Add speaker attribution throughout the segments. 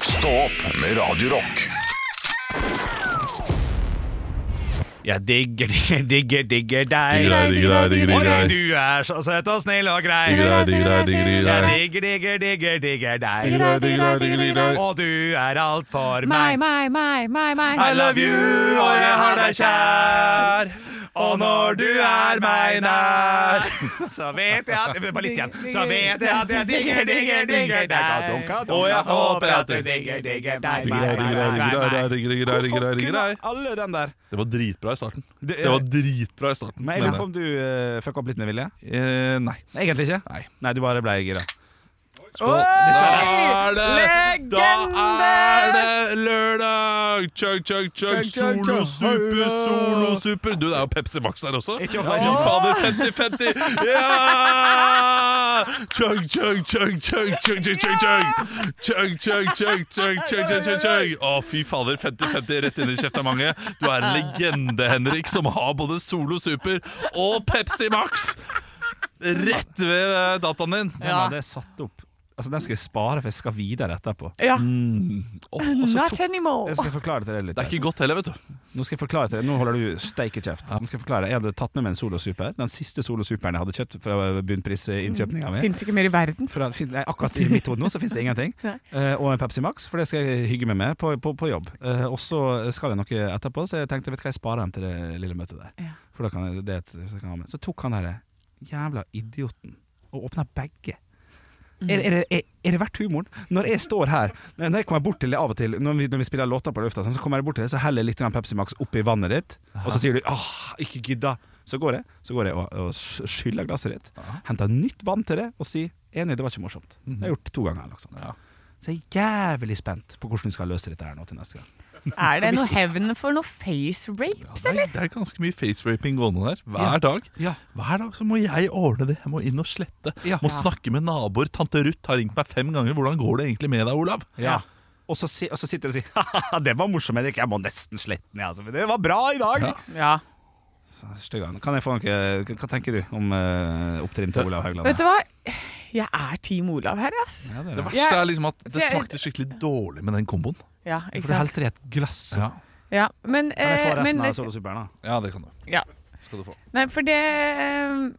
Speaker 1: Stå opp med Radio Rock.
Speaker 2: Jeg digger, digger, digger, digger deg.
Speaker 3: Digger deg, digger deg, digger
Speaker 2: Oi,
Speaker 3: deg.
Speaker 2: du er så søt og snill og grei.
Speaker 3: Digger deg, digger deg, digger
Speaker 2: Jeg
Speaker 3: deg.
Speaker 2: digger, digger, digger, digger deg.
Speaker 3: Digger deg, digger deg, digger deg.
Speaker 2: Og du er alt for
Speaker 4: Meg,
Speaker 2: meg.
Speaker 4: meg, meg, meg, meg.
Speaker 2: I love you, og jeg har deg kjær. Og når du er meg nær, så vet jeg at Det var litt igjen. Så vet jeg at jeg digger, digger, digger deg. Og jeg håper at du digger, digger deg.
Speaker 3: Digger deg, digger deg, digger deg, digger deg, digger deg, digger deg, digger deg.
Speaker 2: alle den der?
Speaker 3: Det var dritbra i starten.
Speaker 2: Det er-
Speaker 3: Det var dritbra i starten.
Speaker 2: Men jeg lurer på
Speaker 3: mener
Speaker 2: om du uh, fucka opp litt med vilje?
Speaker 3: jeg. Eh, nei.
Speaker 2: Egentlig ikke?
Speaker 3: Nei.
Speaker 2: du bare blei gira.
Speaker 3: Da er det Da er
Speaker 4: Legende!
Speaker 3: det lørdag! Chug, chug, chug.
Speaker 4: chug,
Speaker 3: Solo, super, solo, super. Du, det er jo Pepsi Max her også.
Speaker 2: Ikke
Speaker 3: Fy
Speaker 2: opp,
Speaker 3: fader, 50-50! Ja! Chug, chug, chug, chug, chug, chug, chug, chug. Chug, chug, chug, chug, chug, chug, chug, chug. Å, fy fader, 50-50 rett inn i kjeftemanget. Du er en legende, Henrik, som har både Solo Super og Pepsi Max rett ved eh, dataen din.
Speaker 2: Den
Speaker 4: Ja.
Speaker 2: hadde jeg satt opp Altså, den skal jeg spare, for jeg skal videre etterpå.
Speaker 4: Ja.
Speaker 3: Åh, og så
Speaker 4: Not
Speaker 3: tok-
Speaker 4: anymore.
Speaker 2: Mm. Jeg skal forklare til deg litt.
Speaker 3: Det er ikke godt heller, vet du.
Speaker 2: Nå skal jeg forklare til deg Nå holder du steike kjeft. Nå skal jeg forklare Jeg hadde tatt med meg en Solo Super. Den siste Solo Superen jeg hadde kjøpt fra bunnprisinnkjøpninga mi.
Speaker 4: Fins ikke mer i verden.
Speaker 2: For det fin- nei, akkurat i mitt hode nå så fins det ingenting.
Speaker 4: Nei.
Speaker 2: Eh, og en Pepsi Max, for det skal jeg hygge meg med på, på, på jobb. Eh, og så skal jeg noe etterpå, så jeg tenkte vet du hva, jeg sparer den til det lille møtet der.
Speaker 4: Ja.
Speaker 2: For da kan jeg, det er et- så, kan jeg ha med. så tok han derre jævla idioten og åpna begge. Er, er, det- er, er det verdt humoren? Når jeg står her Når jeg kommer bort til det av og til Når vi, når vi spiller låter på lufta, sånn, så kommer jeg bort til det, så heller jeg litt grann Pepsi Max oppi vannet ditt, og så sier du åh, ikke gidda. Så går jeg Så går jeg og, og skyller glasset ditt, henter nytt vann til det og sier enig, det var ikke morsomt. Det har jeg gjort to ganger. eller noe sånt. Så jeg er jævlig spent på hvordan du skal løse dette her nå til neste gang.
Speaker 4: Er det noe hevn for noe face rapes,
Speaker 3: Nei,
Speaker 4: eller?
Speaker 3: det er ganske mye face-raping gående der. Hver dag
Speaker 2: Ja.
Speaker 3: Hver dag så må jeg ordne det. Jeg må inn og slette.
Speaker 2: Ja.
Speaker 3: Må snakke med naboer. Tante Ruth har ringt meg fem ganger. Hvordan går det egentlig med deg, Olav?
Speaker 2: Ja. Og, så, si- og så sitter du og sier «Haha, det var morsomt, Henrik. Jeg må nesten slette den, jeg, altså. for Det var bra i dag!
Speaker 3: Ja.
Speaker 4: Ja.
Speaker 2: Første gang. Kan jeg få noe Hva tenker du om uh, opptrinnet til Olav Haugland?
Speaker 4: Vet du hva? Jeg er Team Olav her, ass.
Speaker 2: Ja, det er
Speaker 3: Det
Speaker 2: det.
Speaker 3: verste
Speaker 4: Jeg-
Speaker 3: er liksom at det
Speaker 4: jeg-
Speaker 3: smakte skikkelig dårlig med den komboen.
Speaker 4: Ja,
Speaker 2: For
Speaker 4: ikke
Speaker 2: du
Speaker 4: sant?
Speaker 2: helte i et glass.
Speaker 3: Ja,
Speaker 4: Ja, men,
Speaker 2: Kan jeg få
Speaker 4: eh,
Speaker 2: resten
Speaker 4: men
Speaker 2: av Solo Superen, da?
Speaker 3: ja det kan du.
Speaker 4: ja.
Speaker 3: Skal du få.
Speaker 4: Nei, for det, eh,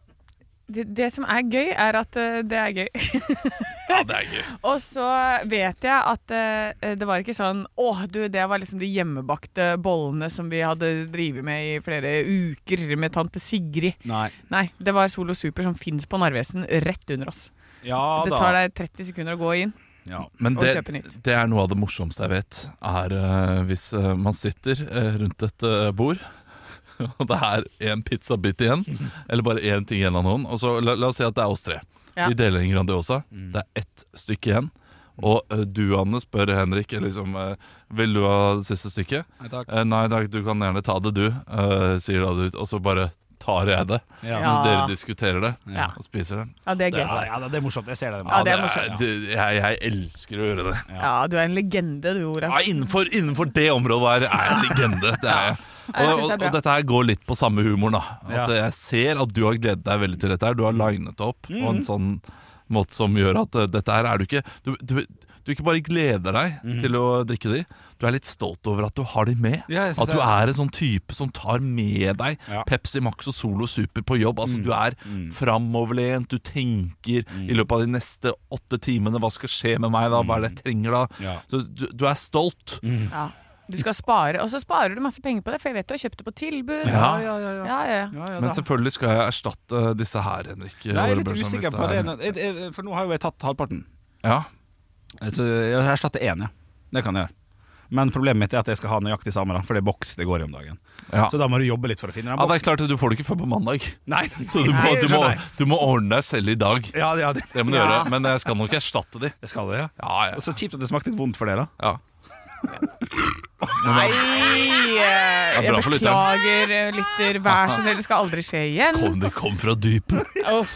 Speaker 4: det Det som er gøy, er at eh, det er gøy.
Speaker 3: Ja, det er gøy.
Speaker 4: Og så vet jeg at eh, det var ikke sånn Å, du, det var liksom de hjemmebakte bollene som vi hadde drevet med i flere uker med tante Sigrid.
Speaker 2: Nei.
Speaker 4: Nei, det var Solo Super som fins på Narvesen rett under oss.
Speaker 2: Ja
Speaker 4: Det
Speaker 2: da.
Speaker 4: tar deg 30 sekunder å gå inn.
Speaker 2: Ja.
Speaker 3: Men
Speaker 4: Og kjøpe
Speaker 3: det,
Speaker 4: nytt.
Speaker 3: det er noe av det morsomste jeg vet, er eh, hvis eh, man sitter eh, rundt et eh, bord, og det er én pizzabit igjen, eller bare én ting igjen av noen. Og så, la, la oss si at det er oss tre.
Speaker 4: Ja. Mm.
Speaker 3: Vi deler en Grandiosa. Det er ett stykke igjen. Og eh, du, Anne, spør Henrik liksom, eh, Vil du ha det siste stykket.
Speaker 2: Nei, takk.
Speaker 3: Eh, nei takk, du kan gjerne ta det, du, eh, sier da du. Og så bare tar jeg det.
Speaker 2: Ja.
Speaker 3: Mens
Speaker 4: Ja.
Speaker 3: dere diskuterer det
Speaker 4: Ah. Ja.
Speaker 3: og spiser det.
Speaker 4: Ja, det er gøy.
Speaker 2: Ja, ja da, det er morsomt. Jeg ser det.
Speaker 4: Ja, det er morsomt.
Speaker 3: det, jeg, jeg elsker å gjøre det.
Speaker 4: Ja, du er en legende, du, Olav.
Speaker 3: Ja, innenfor, innenfor det området her er jeg en legende. Det er jeg. Og,
Speaker 4: jeg synes
Speaker 3: og,
Speaker 4: det er bra.
Speaker 3: og dette her går litt på samme humoren. da At
Speaker 2: Ja.
Speaker 3: Jeg ser at du har gledet deg veldig til dette. her Du har linet det opp på en sånn måte som gjør at eh, dette her er du ikke Du, du, du ikke bare gleder deg til å drikke de, du er litt stolt over at du har de med.
Speaker 2: Ja, jeg synes
Speaker 3: at du
Speaker 2: det.
Speaker 3: er en sånn type som tar med deg
Speaker 2: Ja.
Speaker 3: Pepsi Max og Solo Super på jobb. Altså Du er framoverlent, du tenker i løpet av de neste åtte timene Hva skal skje med meg da? Hva er det jeg trenger da?
Speaker 2: Ja.
Speaker 3: Så du, du er stolt.
Speaker 2: Mm.
Speaker 4: Ja. Du skal spare, og så sparer du masse penger på det, for jeg vet du har kjøpt det på tilbud.
Speaker 2: Ja, ja, ja. ja.
Speaker 4: Ja, ja, ja.
Speaker 2: ja, ja da.
Speaker 3: Men selvfølgelig skal jeg erstatte disse her, Henrik.
Speaker 2: Nei, jeg er
Speaker 3: Hårebø,
Speaker 2: litt
Speaker 3: som
Speaker 2: usikker
Speaker 3: hvis
Speaker 2: på det.
Speaker 3: er-
Speaker 2: Jeg- jeg- For nå har jo jeg tatt halvparten.
Speaker 3: Ja.
Speaker 2: Eh, Så jeg erstatter én, ja. Det kan jeg gjøre. Men problemet mitt er at jeg skal ha nøyaktig samme, da, for det er boks det går i om dagen.
Speaker 3: Ja.
Speaker 2: Så da må du jobbe litt for å finne den
Speaker 3: ja, det er
Speaker 2: boksen.
Speaker 3: klart at du får det ikke før på mandag.
Speaker 2: Nei,
Speaker 3: Så du må,
Speaker 2: Nei,
Speaker 3: du må,
Speaker 2: skjønner jeg.
Speaker 3: du må ordne deg selv i dag.
Speaker 2: Ja, ja, det,
Speaker 3: Det må du
Speaker 4: Ja.
Speaker 3: gjøre, men jeg skal nok erstatte de.
Speaker 2: det skal det, ja.
Speaker 3: Ja, ja.
Speaker 2: Og så kjipt at det smakte litt vondt for dere. da.
Speaker 3: ja.
Speaker 4: Nei!
Speaker 3: er
Speaker 4: Jeg eh,
Speaker 3: bra for lytteren.
Speaker 4: beklager, eh, lytter. Vær så snill, det skal aldri skje igjen.
Speaker 3: Kom, det kom fra dypet.
Speaker 4: Uff.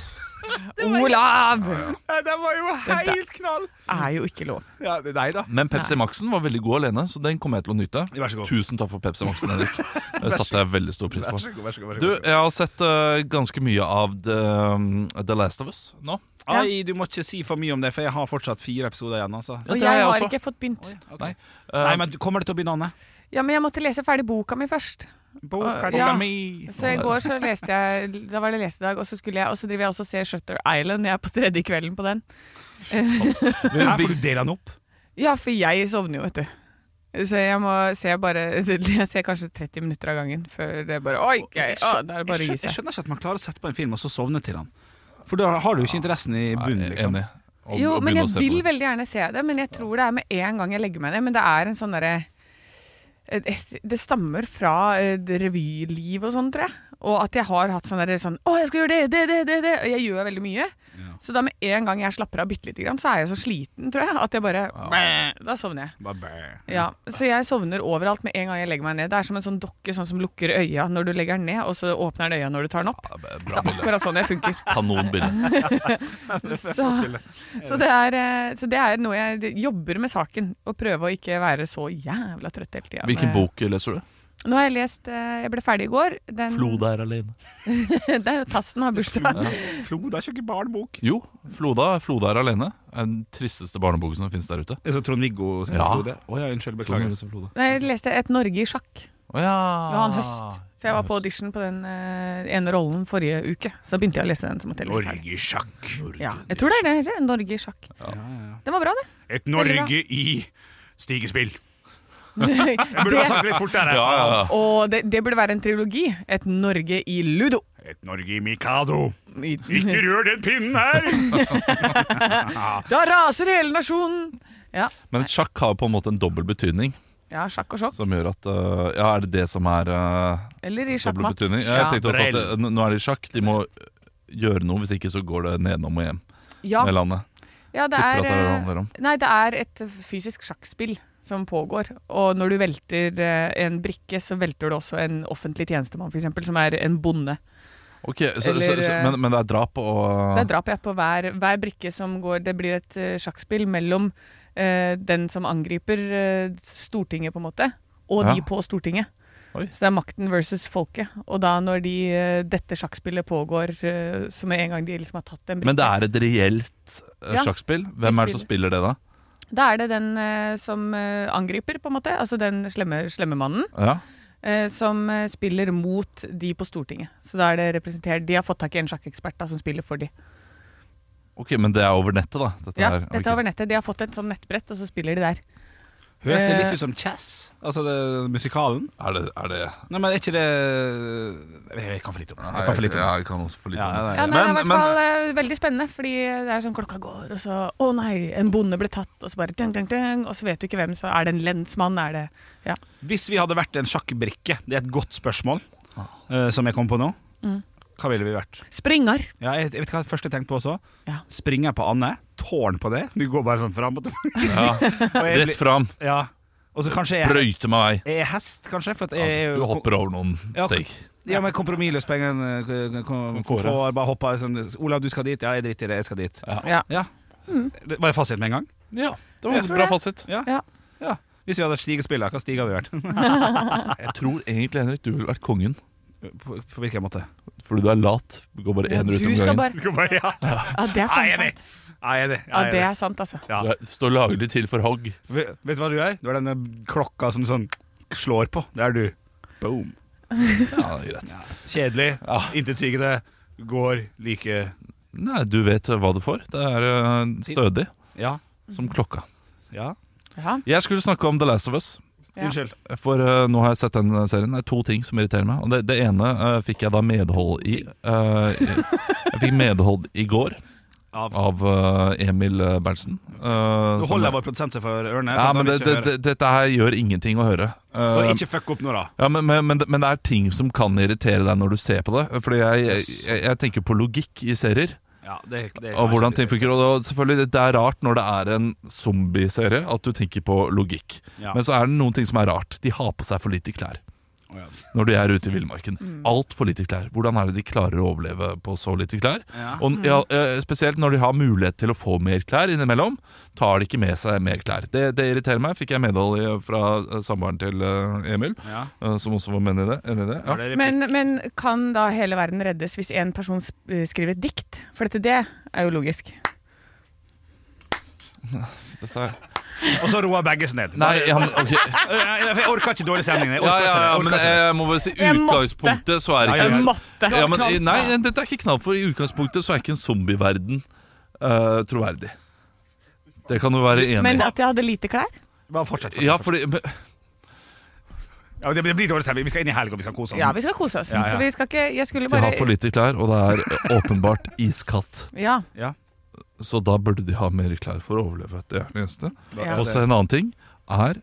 Speaker 4: Olav!
Speaker 2: Nei, den var jo
Speaker 4: der-
Speaker 2: helt knall!
Speaker 4: Er jo ikke lov.
Speaker 2: Ja, det er deg, da.
Speaker 3: Men Pepsi Maxen var veldig god alene, så den kommer jeg til å nyte.
Speaker 2: Vær så god.
Speaker 3: Tusen takk for Pepsi Maxen, Henrik. Det satte jeg veldig stor pris
Speaker 2: Vær
Speaker 3: på.
Speaker 2: så god. vær så god, vær så
Speaker 3: Du,
Speaker 2: god.
Speaker 3: jeg har sett eh, ganske mye av The, um, The Last of Us nå.
Speaker 2: Ai, du må ikke si for mye om det, for jeg har fortsatt fire episoder igjen. Altså.
Speaker 3: Ja,
Speaker 4: Og
Speaker 3: det er
Speaker 4: jeg
Speaker 3: jeg
Speaker 4: har
Speaker 3: også.
Speaker 4: ikke fått begynt.
Speaker 2: Ok.
Speaker 3: Nei.
Speaker 2: Nei,
Speaker 3: Eh,
Speaker 2: men du- kommer det til å begynne, Anne?
Speaker 4: Ja, men jeg måtte lese ferdig boka mi først.
Speaker 2: Boka
Speaker 4: Ja.
Speaker 2: di mi.
Speaker 4: Så i går så leste jeg Da var det lesedag, og så skulle jeg Og så driver jeg også og ser Shutter Island. Jeg er på tredje kvelden på den.
Speaker 2: Her får du dele den opp.
Speaker 4: Ja, for jeg sovner jo, vet du. Så jeg må se bare Jeg ser kanskje 30 minutter av gangen før det bare Oi, ok, å, da er det
Speaker 2: jeg, skjønner,
Speaker 4: bare å gi
Speaker 2: jeg
Speaker 4: seg.
Speaker 2: skjønner ikke at man klarer å sette på en film og så sovne til den. For da har du jo ikke interessen i bunnen,
Speaker 3: Nei,
Speaker 2: liksom.
Speaker 3: Enig. Og-
Speaker 4: Jo,
Speaker 3: og
Speaker 4: men
Speaker 3: begynne
Speaker 4: jeg
Speaker 3: å se
Speaker 4: vil
Speaker 3: på det.
Speaker 4: veldig gjerne se det, men jeg tror det er med en gang jeg legger meg ned. Men det er en sånn derre eh, Det stammer fra eh, det revyliv og sånn, tror jeg. Og at jeg har hatt sånn derre sånn Å, jeg skal gjøre det, det, det, det, det. Og jeg gjør veldig mye. Så da med en gang jeg slapper av bitte lite grann, så er jeg så sliten, tror jeg, at jeg bare Da sovner jeg.
Speaker 2: Bare bæ.
Speaker 4: Ja, så jeg sovner overalt med en gang jeg legger meg ned. Det er som en sånn dokke sånn som lukker øya når du legger den ned, og så åpner den øya når du tar den opp.
Speaker 3: Ja, b-
Speaker 4: Det
Speaker 3: Bra
Speaker 4: er
Speaker 3: bilde.
Speaker 4: akkurat sånn jeg funker.
Speaker 3: Kanonbilde.
Speaker 4: Så, så, det er, eh, så det er noe jeg jobber med saken. Å prøve å ikke være så jævla trøtt hele tida.
Speaker 3: Hvilken bok leser du?
Speaker 4: Nå har jeg lest eh, Jeg ble ferdig i går. Den,
Speaker 3: Floda er alene.
Speaker 4: Det er jo Tassen har bursdag.
Speaker 2: Flo, det er ikke ikke barnebok.
Speaker 3: Jo, Floda, Floda er alene. Er den tristeste barneboken som finnes der ute.
Speaker 2: Det er så Trond-Viggo sin
Speaker 3: Ja.
Speaker 2: Flo, det. Å ja, unnskyld, beklager.
Speaker 3: Floda.
Speaker 4: Nei, Jeg leste Et Norge i sjakk.
Speaker 3: Å ja.
Speaker 4: Det var en høst. For jeg var på audition på den eh, ene rollen forrige uke. Så da begynte jeg å lese den. som jeg leste ferdig.
Speaker 2: Norge i sjakk.
Speaker 4: Ja, jeg tror det er det. det er Norge i sjakk. Den var bra, det.
Speaker 2: Et
Speaker 4: Norge
Speaker 2: Norge i stigespill. Jeg burde ha
Speaker 4: det,
Speaker 2: sagt det litt fortere.
Speaker 3: Ja, ja, ja.
Speaker 4: og det, det burde være en trilogi. Et Norge i ludo.
Speaker 2: Et Norge i Mikado.
Speaker 4: I-
Speaker 2: Ikke rør den pinnen her!
Speaker 4: Da raser hele nasjonen! Ja,
Speaker 3: Men sjakk har på en måte en dobbel betydning,
Speaker 4: ja sjakk og sjokk.
Speaker 3: som gjør at øh, Ja, er det det som er øh,
Speaker 4: Eller i
Speaker 3: dobbel
Speaker 4: sjakkmatt.
Speaker 3: betydning? Ja, jeg tenkte også at det,
Speaker 2: Brell.
Speaker 3: n- nå er de i sjakk, de må øh, gjøre noe, hvis ikke så går det nedenom og hjem
Speaker 4: ja,
Speaker 3: med landet.
Speaker 4: ja, det
Speaker 3: Tipper
Speaker 4: er,
Speaker 3: at det er det det
Speaker 4: eh,
Speaker 3: handler om.
Speaker 4: nei, det er et fysisk sjakkspill som pågår. Og når du velter eh, en brikke, så velter du også en offentlig tjenestemann, f.eks., som er en bonde.
Speaker 3: Ok, så,
Speaker 4: Eller,
Speaker 3: så, så,
Speaker 4: øh,
Speaker 3: men, men det er drap og
Speaker 4: Det er drap jeg på hver, hver brikke som går. Det blir et eh, sjakkspill mellom eh, den som angriper eh, Stortinget, på en måte, og
Speaker 3: Ja.
Speaker 4: de på Stortinget.
Speaker 3: Oi.
Speaker 4: Så det er makten versus folket. Og da når de, eh, dette sjakkspillet pågår, eh, så med en gang de liksom har tatt en brikke
Speaker 3: Men det er et reelt øh,
Speaker 4: Ja,
Speaker 3: sjakkspill? Hvem er det som spiller det, da?
Speaker 4: Da er det den eh, som eh, angriper, på en måte. Altså den slemme, slemme mannen.
Speaker 3: Ja.
Speaker 4: eh, som eh, spiller mot de på Stortinget. Så da er det representert De har fått tak i en sjakkekspert da, som spiller for de.
Speaker 3: Ok, men det er over nettet, da? Dette
Speaker 4: Ja,
Speaker 3: her.
Speaker 4: dette
Speaker 3: Ok.
Speaker 4: er over nettet. De har fått et sånn nettbrett, og så spiller de der.
Speaker 2: Høres det
Speaker 3: Eh.
Speaker 2: litt ut som Chess? Altså det, musikalen?
Speaker 3: Er det, er det
Speaker 2: Nei, men er ikke det Jeg, jeg kan for lite om det. Jeg kan for lite om
Speaker 3: Ja,
Speaker 2: det.
Speaker 3: jeg kan også for litt
Speaker 2: Ja,
Speaker 3: om det.
Speaker 2: ja,
Speaker 4: Ja,
Speaker 2: ja.
Speaker 4: nei, det er i
Speaker 3: Men-
Speaker 4: hvert
Speaker 3: men-
Speaker 4: fall eh, veldig spennende, fordi det er sånn klokka går, og så Å nei, en bonde ble tatt, og så bare dang, dang, dang, og så vet du ikke hvem, så er det en lensmann, er det Ja.
Speaker 2: Hvis vi hadde vært en sjakkbrikke, det er et godt spørsmål
Speaker 3: Ah.
Speaker 2: eh, som jeg kom på nå.
Speaker 4: Mm.
Speaker 2: Hva ville vi vært?
Speaker 4: Springer!
Speaker 2: Ja, jeg, jeg vet hva det første jeg tenkte på også.
Speaker 4: Ja.
Speaker 2: Springer på Anne. Tårn på det. Du går bare sånn fram og tilbake.
Speaker 3: Ja.
Speaker 2: Og jeg
Speaker 3: Rett
Speaker 2: blir-
Speaker 3: fram,
Speaker 2: Ja. Og så kanskje jeg
Speaker 3: brøyte meg vei.
Speaker 2: jeg er hest, kanskje. For at jeg, er jo-
Speaker 3: Ja, du hopper over noen
Speaker 2: Ja,
Speaker 3: steg.
Speaker 2: Ja, men kompromissløs på en eh, kom- komfort. Bare hoppa sånn Olav, du skal dit. Ja, jeg driter i det, jeg skal dit.
Speaker 4: Ja.
Speaker 2: Ja. Det Var det fasit med en gang?
Speaker 3: Ja, det
Speaker 4: Jeg
Speaker 3: var
Speaker 4: tror
Speaker 3: bra
Speaker 4: det.
Speaker 3: fasit.
Speaker 2: Ja.
Speaker 4: Ja.
Speaker 2: Ja. Hvis vi hadde vært stigespiller, hva stig hadde vi vært?
Speaker 3: Jeg tror egentlig, Henrik, du ville vært kongen.
Speaker 2: På, på hvilken måte?
Speaker 3: Fordi du er lat. Du går bare én
Speaker 4: Du
Speaker 3: rute om
Speaker 4: skal
Speaker 3: gangen.
Speaker 4: bare
Speaker 2: Ja,
Speaker 4: Ja, det er
Speaker 2: jeg
Speaker 4: faen
Speaker 2: er enig.
Speaker 4: sant.
Speaker 2: Jeg er enig.
Speaker 4: Ja,
Speaker 2: Jeg er
Speaker 4: det
Speaker 2: enig.
Speaker 4: er sant, altså.
Speaker 2: Ja.
Speaker 3: Du er- står laglig til for hogg.
Speaker 2: Vet vet du hva du er? Du er denne klokka som sånn slår på. Det er du. Boom.
Speaker 3: Ja, det er greit.
Speaker 2: Kjedelig,
Speaker 3: Ja.
Speaker 2: intetsigende, går like
Speaker 3: Nei, du vet hva du får. Det er eh, stødig
Speaker 2: Ja.
Speaker 3: som klokka.
Speaker 2: Ja.
Speaker 4: Ja.
Speaker 3: Jeg skulle snakke om The Last of Us.
Speaker 4: Ja.
Speaker 2: Unnskyld.
Speaker 3: For eh, nå har jeg sett den serien. Det er to ting som irriterer meg. Og det, det ene eh, fikk jeg da medhold i. Eh, jeg fikk medhold i går
Speaker 2: Av.
Speaker 3: av eh, Emil eh, Berntsen. Uh,
Speaker 2: Nå holder jeg vår produsent seg for ørene.
Speaker 3: Ja, men det,
Speaker 2: det,
Speaker 3: det, det- dette her gjør ingenting å høre. Eh,
Speaker 2: Ikke fuck opp nå, da.
Speaker 3: ja, men, men, men, det- men det er ting som kan irritere deg når du ser på det. Fordi jeg, jeg, jeg tenker på logikk i serier.
Speaker 2: Ja, det, det,
Speaker 3: Og hvordan ting funker. Og da- selvfølgelig, det er rart når det er en zombieserie at du tenker på logikk.
Speaker 2: Ja.
Speaker 3: Men så er det noen ting som er rart. De har på seg for lite klær.
Speaker 2: Å, ja.
Speaker 3: når de er ute i villmarken.
Speaker 4: Mm.
Speaker 3: Altfor lite klær. Hvordan er det de klarer å overleve på så lite klær?
Speaker 2: Ja.
Speaker 4: Ah.
Speaker 3: Og ja, eh, Spesielt når de har mulighet til å få mer klær innimellom, tar de ikke med seg mer klær. Det, det irriterer meg. Fikk jeg medhold i- fra eh, samboeren til eh, Emil,
Speaker 2: Ja.
Speaker 3: eh, som også var menn i det. enig i det. Ja.
Speaker 2: Var det replikk?
Speaker 4: Men, men kan da hele verden reddes hvis én person s- eh, skriver et dikt? For dette det er jo logisk.
Speaker 3: Dette er-
Speaker 2: Og så roer begge seg ned.
Speaker 3: Nei, han, ok.
Speaker 2: Jeg, jeg orker ikke dårlig stemning. Jeg
Speaker 3: ja,
Speaker 2: orker
Speaker 3: ja, ja,
Speaker 2: ikke det. Jeg
Speaker 3: men eh,
Speaker 2: orker ikke det.
Speaker 3: jeg må bare si
Speaker 4: Jeg måtte.
Speaker 3: utgangspunktet, så er det
Speaker 2: Ja, ja,
Speaker 3: ikke
Speaker 2: ja.
Speaker 4: Måtte.
Speaker 3: Ja, men, i- nei, dette er ikke knall for. I utgangspunktet så er ikke en zombieverden eh, troverdig. Det kan du være enig
Speaker 4: Men
Speaker 3: i.
Speaker 4: at jeg hadde lite klær?
Speaker 2: Bare fortsett. fortsett.
Speaker 3: Ja, fordi men-
Speaker 2: Ja, det, det blir dårlig stemning. Vi skal inn i helga, vi skal kose oss.
Speaker 4: Ja, vi skal kose oss.
Speaker 2: Ja, ja.
Speaker 4: Så vi skal ikke Jeg skulle
Speaker 3: de
Speaker 4: bare
Speaker 3: har for lite klær, og det er åpenbart iskaldt.
Speaker 4: Ja.
Speaker 3: Så da burde de ha mer klær for å overleve. Det er det eneste.
Speaker 4: ja.
Speaker 3: Og så en annen ting er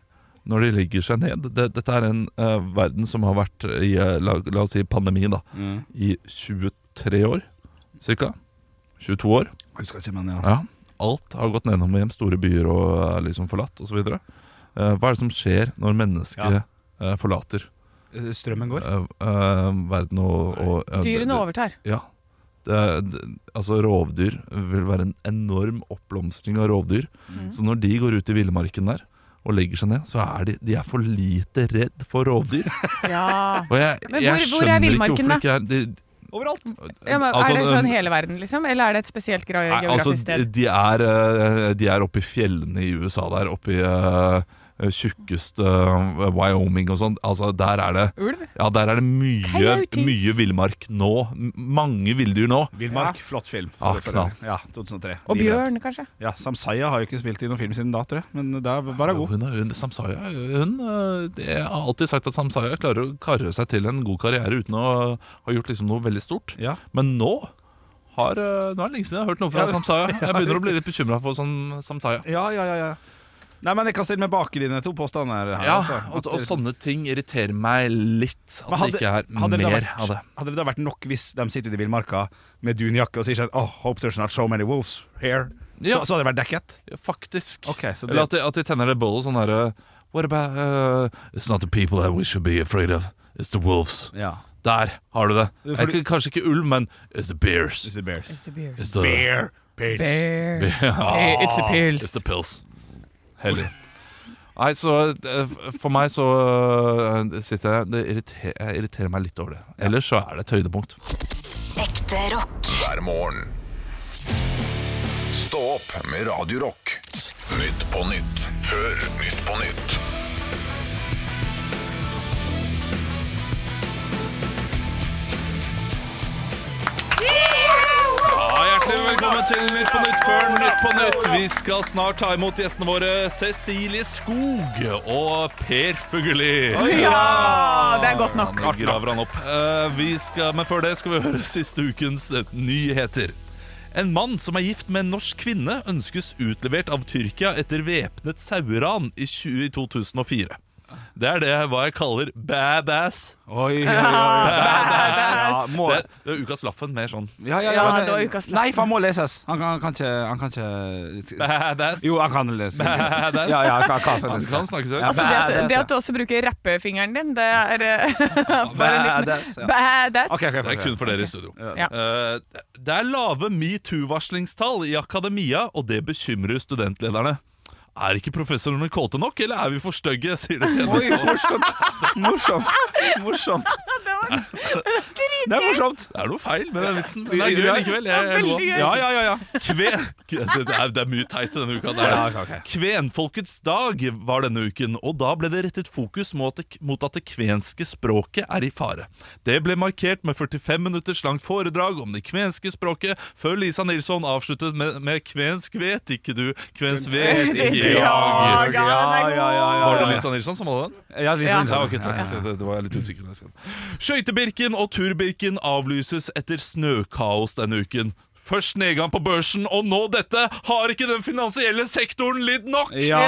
Speaker 3: når de legger seg ned det, Dette er en eh, verden som har vært i eh, la, la oss si pandemi, da.
Speaker 2: Mm.
Speaker 3: I 23 år ca. 22 år.
Speaker 2: Jeg husker ikke, men ja.
Speaker 3: Ja, alt har gått nedom og hjem, store byer og er liksom forlatt osv. Hva er det som skjer når mennesker
Speaker 2: Ja.
Speaker 3: eh, forlater
Speaker 2: Eh, Strømmen går.
Speaker 3: eh, eh, verden og, og eh, det-
Speaker 4: Dyrene overtar.
Speaker 3: Ja. Det, det, altså Rovdyr vil være en enorm oppblomstring av rovdyr.
Speaker 4: Mm.
Speaker 3: Så når de går ut i villmarken der og legger seg ned, så er de, de er for lite redd for rovdyr.
Speaker 4: Ja.
Speaker 3: Og jeg,
Speaker 4: Men hvor-
Speaker 3: jeg
Speaker 4: hvor er
Speaker 3: skjønner ikke hvorfor
Speaker 4: villmarken da?
Speaker 3: det ikke er de,
Speaker 2: Overalt.
Speaker 4: ja men,
Speaker 3: altså,
Speaker 4: er det sånn
Speaker 3: eh,
Speaker 4: hele verden, liksom? Eller er det et spesielt gra-
Speaker 3: Nei,
Speaker 4: geografisk
Speaker 3: altså, de,
Speaker 4: sted?
Speaker 3: de, er, eh, de er oppe i fjellene i USA der, oppe i eh, tjukkeste eh, Wyoming og sånn. Altså, der er det
Speaker 4: Ulv?
Speaker 3: ja, der er det mye,
Speaker 4: Coyotes.
Speaker 3: mye villmark nå. M- Mange villdyr nå.
Speaker 2: Villmark, flott film.
Speaker 3: Ah,
Speaker 2: For- for-
Speaker 3: knall.
Speaker 2: Ja, 2003.
Speaker 4: Og
Speaker 2: Livredd.
Speaker 4: bjørn, kanskje?
Speaker 2: Ja, Samsaya har jo ikke spilt i noen film siden da, tror jeg. Men da var hun god.
Speaker 3: Hun, er- hun, Samsaya hun, eh, det- Jeg har alltid sagt at Samsaya klarer å karre seg til en god karriere uten å ha gjort liksom noe veldig stort.
Speaker 2: Ja.
Speaker 3: Men nå har, eh, nå er det lenge siden jeg har hørt noe fra
Speaker 2: Ja,
Speaker 3: Samsaya. Jeg begynner
Speaker 2: riktig.
Speaker 3: å bli litt bekymra for sånn Samsaya.
Speaker 2: Ja, ja, ja, ja. Nei, men jeg kan stille meg bak i dine to påstander. her
Speaker 3: Ja,
Speaker 2: altså.
Speaker 3: og,
Speaker 2: At-
Speaker 3: og sånn sånne ting irriterer meg litt. At
Speaker 2: Men hadde-
Speaker 3: det ikke er
Speaker 2: hadde det
Speaker 3: mer
Speaker 2: vært-
Speaker 3: av det.
Speaker 2: Hadde det da vært nok hvis de sitter ute i villmarka med dunjakke og sier sånn oh, 'Hope there's not so many wolves here'?
Speaker 3: Ja.
Speaker 2: Så, så hadde det vært dekket?
Speaker 3: Ja, Faktisk.
Speaker 2: Ok, så det,
Speaker 3: Eller at de, at de tenner det bollet sånn derre What about uh, It's not the people that we should be afraid of. It's the wolves.
Speaker 2: ja.
Speaker 3: Der har du det.
Speaker 2: For
Speaker 3: Er ikke- kanskje ikke ulv, men it's the bears.
Speaker 2: It's the bears.
Speaker 4: It's the bear.
Speaker 3: It's the,
Speaker 2: Bear, bitch.
Speaker 4: Bear.
Speaker 3: Bear. Ah,
Speaker 4: Hey, it's the
Speaker 3: It's
Speaker 4: pills.
Speaker 3: the pills. Hellig. Nei, så eh, for meg så eh, sitter jeg Det irriterer, jeg irriterer meg litt over det. Ellers så er det et høydepunkt.
Speaker 5: Ekte rock.
Speaker 1: hver morgen. Stå opp med Radio Rock. Nytt på nytt før Nytt på nytt.
Speaker 3: Ja, Hjertelig velkommen til Nytt på Nytt før Nytt på Nytt. Vi skal snart ta imot gjestene våre Cecilie Skog og Per Fugelli.
Speaker 4: Ja! Det er godt nok.
Speaker 3: Nå graver han opp. Eh, vi skal, men før det skal vi høre siste ukens eh, nyheter. En mann som er gift med en norsk kvinne, ønskes utlevert av Tyrkia etter væpnet saueran i 20 i 2004. Det er det hva jeg kaller badass.
Speaker 2: Oi, oi, oi. Ja, må,
Speaker 3: Det, det er ukas Laffen mer sånn
Speaker 2: ja, ja,
Speaker 4: Ja,
Speaker 2: men-
Speaker 4: det var ukas lapp.
Speaker 2: Nei, for han må leses. Han kan, han kan ikke, han kan ikke
Speaker 3: badass.
Speaker 2: Jo, han kan lese. Ja,
Speaker 3: badass.
Speaker 2: ja, han kan, kan,
Speaker 3: Han
Speaker 2: faktisk.
Speaker 3: kan snakke seg ut.
Speaker 4: Altså, det,
Speaker 2: Badass,
Speaker 4: at, det
Speaker 2: ja.
Speaker 4: at du også bruker rappefingeren din, det er eh, bare en liten
Speaker 2: Badass, ja.
Speaker 4: Badass.
Speaker 2: Ok, ok, ok,
Speaker 3: Det er
Speaker 2: ok.
Speaker 3: kun for dere i studio.
Speaker 4: Ja.
Speaker 3: Eh, det er lave metoo-varslingstall i akademia, og det bekymrer studentlederne. Er ikke professorene kåte nok, eller er vi for stygge? sier det til
Speaker 2: Oi,
Speaker 3: NRK.
Speaker 2: morsomt. Morsomt. Morsomt. Det er morsomt.
Speaker 3: Det er noe feil med den vitsen, men det er gøy likevel. Jeg, jeg lo.
Speaker 4: Veldig gøy.
Speaker 2: Ja, ja, ja. ja.
Speaker 3: Kve... Det er, det er mye teit i denne uka. Det
Speaker 2: Ja,
Speaker 3: er.
Speaker 2: ok,
Speaker 3: det.
Speaker 2: ok.
Speaker 3: Kvenfolkets dag var denne uken, og da ble det rettet fokus mot at, mot at det kvenske språket er i fare. Det ble markert med 45 minutters langt foredrag om det kvenske språket, før Lisa Nilsson avsluttet med, med 'Kvensk vet ikke du, kvensk vet ikke
Speaker 4: Ja,
Speaker 3: jeg'.
Speaker 4: ja, den er god.
Speaker 3: Var det Lisa Nilsson som hadde den?
Speaker 2: Ja, det
Speaker 4: Ja.
Speaker 2: er
Speaker 3: Ja,
Speaker 2: sånn.
Speaker 3: ok, takk. Det- Det, det var jeg litt usikker på. Skøytebirken og turbirken avlyses etter snøkaos denne uken. Først nedgang på børsen, og nå dette! Har ikke den finansielle sektoren lidd nok?
Speaker 2: Ja,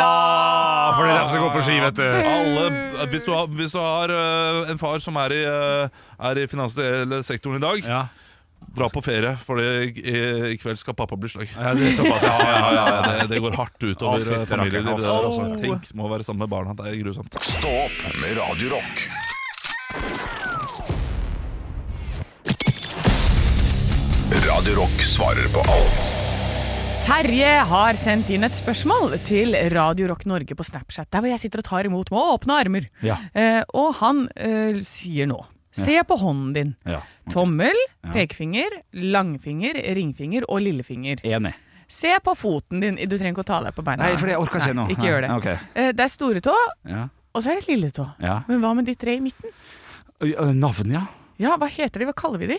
Speaker 2: for det er dem som går på ski, vet du.
Speaker 3: Alle, hvis, du har, hvis du har øh, en far som er i, øh, er i finansielle sektoren i dag,
Speaker 2: Ja.
Speaker 3: dra på ferie, for i, i- i kveld skal pappa bli sløy.
Speaker 2: ja, det er såpass.
Speaker 3: Ja,
Speaker 2: Ja,
Speaker 3: ja, ja, det, det går hardt
Speaker 2: Å,
Speaker 3: utover
Speaker 2: fytti
Speaker 3: øh,
Speaker 2: rakkeren.
Speaker 3: familielivet. der, altså. Tenk, må være sammen med barna. Det er grusomt.
Speaker 1: Stå opp med Radio Rock. Radio Rock svarer på alt.
Speaker 4: Terje har sendt inn et spørsmål til Radio Rock Norge på Snapchat, der hvor jeg sitter og tar imot med åpne armer.
Speaker 2: Ja.
Speaker 4: Eh, og han eh, sier nå Se på hånden din.
Speaker 2: Ja.
Speaker 4: Tommel, pekefinger, langfinger, ringfinger og lillefinger.
Speaker 2: Enig.
Speaker 4: Se på foten din. Du trenger ikke å ta deg på beina.
Speaker 2: Nei, for jeg orker ikke
Speaker 4: Nei,
Speaker 2: nå.
Speaker 4: Ikke gjør det.
Speaker 2: Nei, ok.
Speaker 4: Eh, Det er store tå,
Speaker 2: Ja.
Speaker 4: og så er det lille tå.
Speaker 2: Ja.
Speaker 4: Men hva med de tre i midten?
Speaker 2: Øy, ø, Navn, ja.
Speaker 4: Ja, hva heter de? Hva kaller vi de?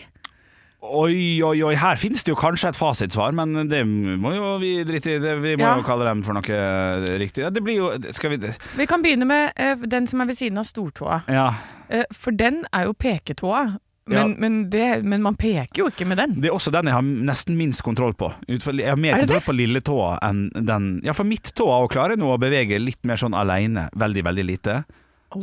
Speaker 2: Oi, oi, oi, her finnes det jo kanskje et fasitsvar, men det må jo vi drite i. Det- Vi må
Speaker 4: Ja.
Speaker 2: jo kalle dem for noe eh, riktig. Ja, det blir jo Skal vi
Speaker 4: Vi kan begynne med eh, den som er ved siden av stortåa.
Speaker 2: Ja.
Speaker 4: Eh, For den er jo peketåa.
Speaker 2: Ja.
Speaker 4: Men, men, det, men man peker jo ikke med den.
Speaker 2: Det er også den jeg har nesten minst kontroll på. Ut fra- Jeg har mer
Speaker 4: Er det
Speaker 2: kontroll på lilletåa enn den Ja, for midttåa og klarer jeg nå å bevege litt mer sånn aleine. Veldig, veldig lite.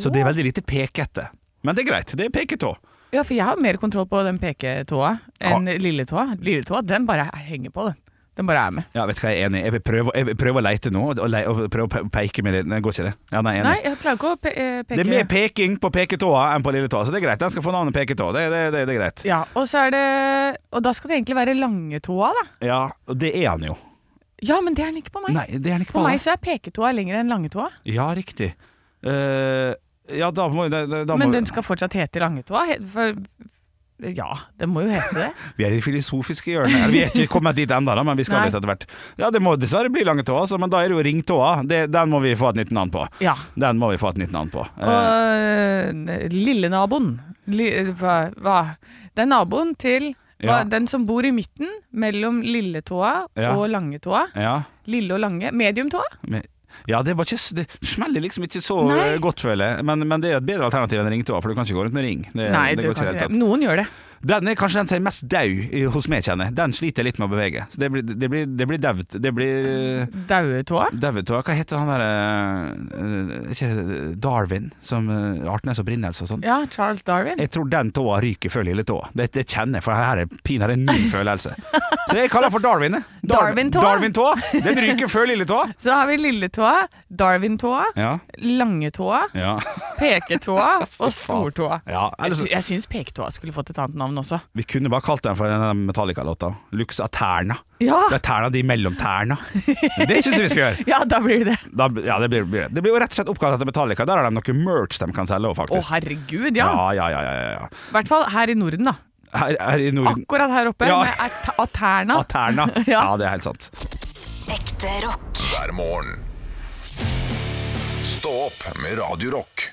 Speaker 2: Så det er veldig lite pekete. Men det er greit, det er peketå.
Speaker 4: Ja, for jeg har mer kontroll på den peketåa enn lilletåa. Lilletåa, den bare henger på, den. Den bare er med.
Speaker 2: Ja, vet du hva, jeg er enig. Jeg vil prøve, jeg vil prøve å leite nå, og, le, og prøve å pe- peke med litt. Nei, går ikke det? Ja, nei, jeg er
Speaker 4: Nei,
Speaker 2: enig.
Speaker 4: jeg klarer ikke å pe eh, peke
Speaker 2: Det er mer peking på peketåa enn på lilletåa, så det er greit. Den skal få navnet peketå. Det, det, det, det er greit.
Speaker 4: Ja, og så er det Og da skal det egentlig være langetåa, da.
Speaker 2: Ja, og det er han jo.
Speaker 4: Ja, men det er den ikke på meg.
Speaker 2: Nei, det er han ikke
Speaker 4: på
Speaker 2: på.
Speaker 4: meg
Speaker 2: da.
Speaker 4: så er peketåa lengre enn langetåa.
Speaker 2: Ja, riktig. Eh, ja, da må, da, da, da må
Speaker 4: Men den skal fortsatt hete langetåa. he- For ja, den må jo hete det.
Speaker 2: Vi er i det filosofiske hjørnet. her. Vi er ikke kommet dit ennå, da, men vi skal
Speaker 4: Nei.
Speaker 2: litt etter hvert. Ja, det må dessverre bli lange tåa, altså, men da er det jo ringtåa. Det, den må vi få et nytt navn på.
Speaker 4: Ja.
Speaker 2: Den må vi få et nytt navn på.
Speaker 4: Og
Speaker 2: Eh,
Speaker 4: eh, lillenaboen li, hva, hva? Det er naboen til hva,
Speaker 2: Ja.
Speaker 4: Den som bor i midten mellom lilletåa
Speaker 2: Ja.
Speaker 4: og langetåa.
Speaker 2: ja.
Speaker 4: Lille og lange. Mediumtåa?
Speaker 2: Men- ja, det, var ikke, s- det smeller liksom ikke så
Speaker 4: Nei.
Speaker 2: eh, godt, føler jeg. Men, men det er jo et bedre alternativ enn ringtåa, for du kan ikke gå rundt med ring. Det,
Speaker 4: Nei,
Speaker 2: det
Speaker 4: du
Speaker 2: går
Speaker 4: kan
Speaker 2: i det
Speaker 4: ikke
Speaker 2: hele
Speaker 4: det.
Speaker 2: tatt.
Speaker 4: Noen gjør det.
Speaker 2: Den er kanskje den som er mest daud i- hos meg, kjenner jeg. Den sliter jeg litt med å bevege. Så det blir Det blir, det blir daut. Det blir eh,
Speaker 4: Dauetåa?
Speaker 2: Dauetåa. Hva heter han derre Ikke eh, Darwin, som eh, Artenes opprinnelse og sånn?
Speaker 4: Ja, Charles Darwin.
Speaker 2: Jeg tror den tåa ryker før lille tåa. Det, det kjenner jeg, for her er pinadø en ny følelse. Så jeg kaller den for Darwin. jeg.
Speaker 4: Darwin-tåa?
Speaker 2: Darwin-tåa. Den ryker før lille tåa.
Speaker 4: Så har vi lilletåa, Darwin-tåa,
Speaker 2: Ja.
Speaker 4: langetåa,
Speaker 2: Ja.
Speaker 4: peketåa og stortåa.
Speaker 2: ja.
Speaker 4: Jeg,
Speaker 2: Ellers,
Speaker 4: sy- jeg syns peketåa skulle fått et annet navn også.
Speaker 2: vi kunne bare kalt den for den der Metallica-låta. Lux Aterna.
Speaker 4: Ja,
Speaker 2: Det er terna di mellom tærne. Det syns jeg vi skal gjøre.
Speaker 4: ja da blir det det.
Speaker 2: Da, ja, det, blir, blir det. det blir jo rett og slett oppkalt etter Metallica. Der har de noe merch de kan selge òg,
Speaker 4: Å
Speaker 2: faktisk.
Speaker 4: herregud, ja.
Speaker 2: ja, ja, ja, ja, ja.
Speaker 4: I hvert fall her i Norden, da.
Speaker 2: Her, her i Norden.
Speaker 4: Akkurat her oppe,
Speaker 2: Ja.
Speaker 4: med at- Aterna.
Speaker 2: Aterna.
Speaker 4: Ja.
Speaker 2: Ja, det er helt sant.
Speaker 5: Ekte rock.
Speaker 1: hver morgen. Stå opp med Radio Rock.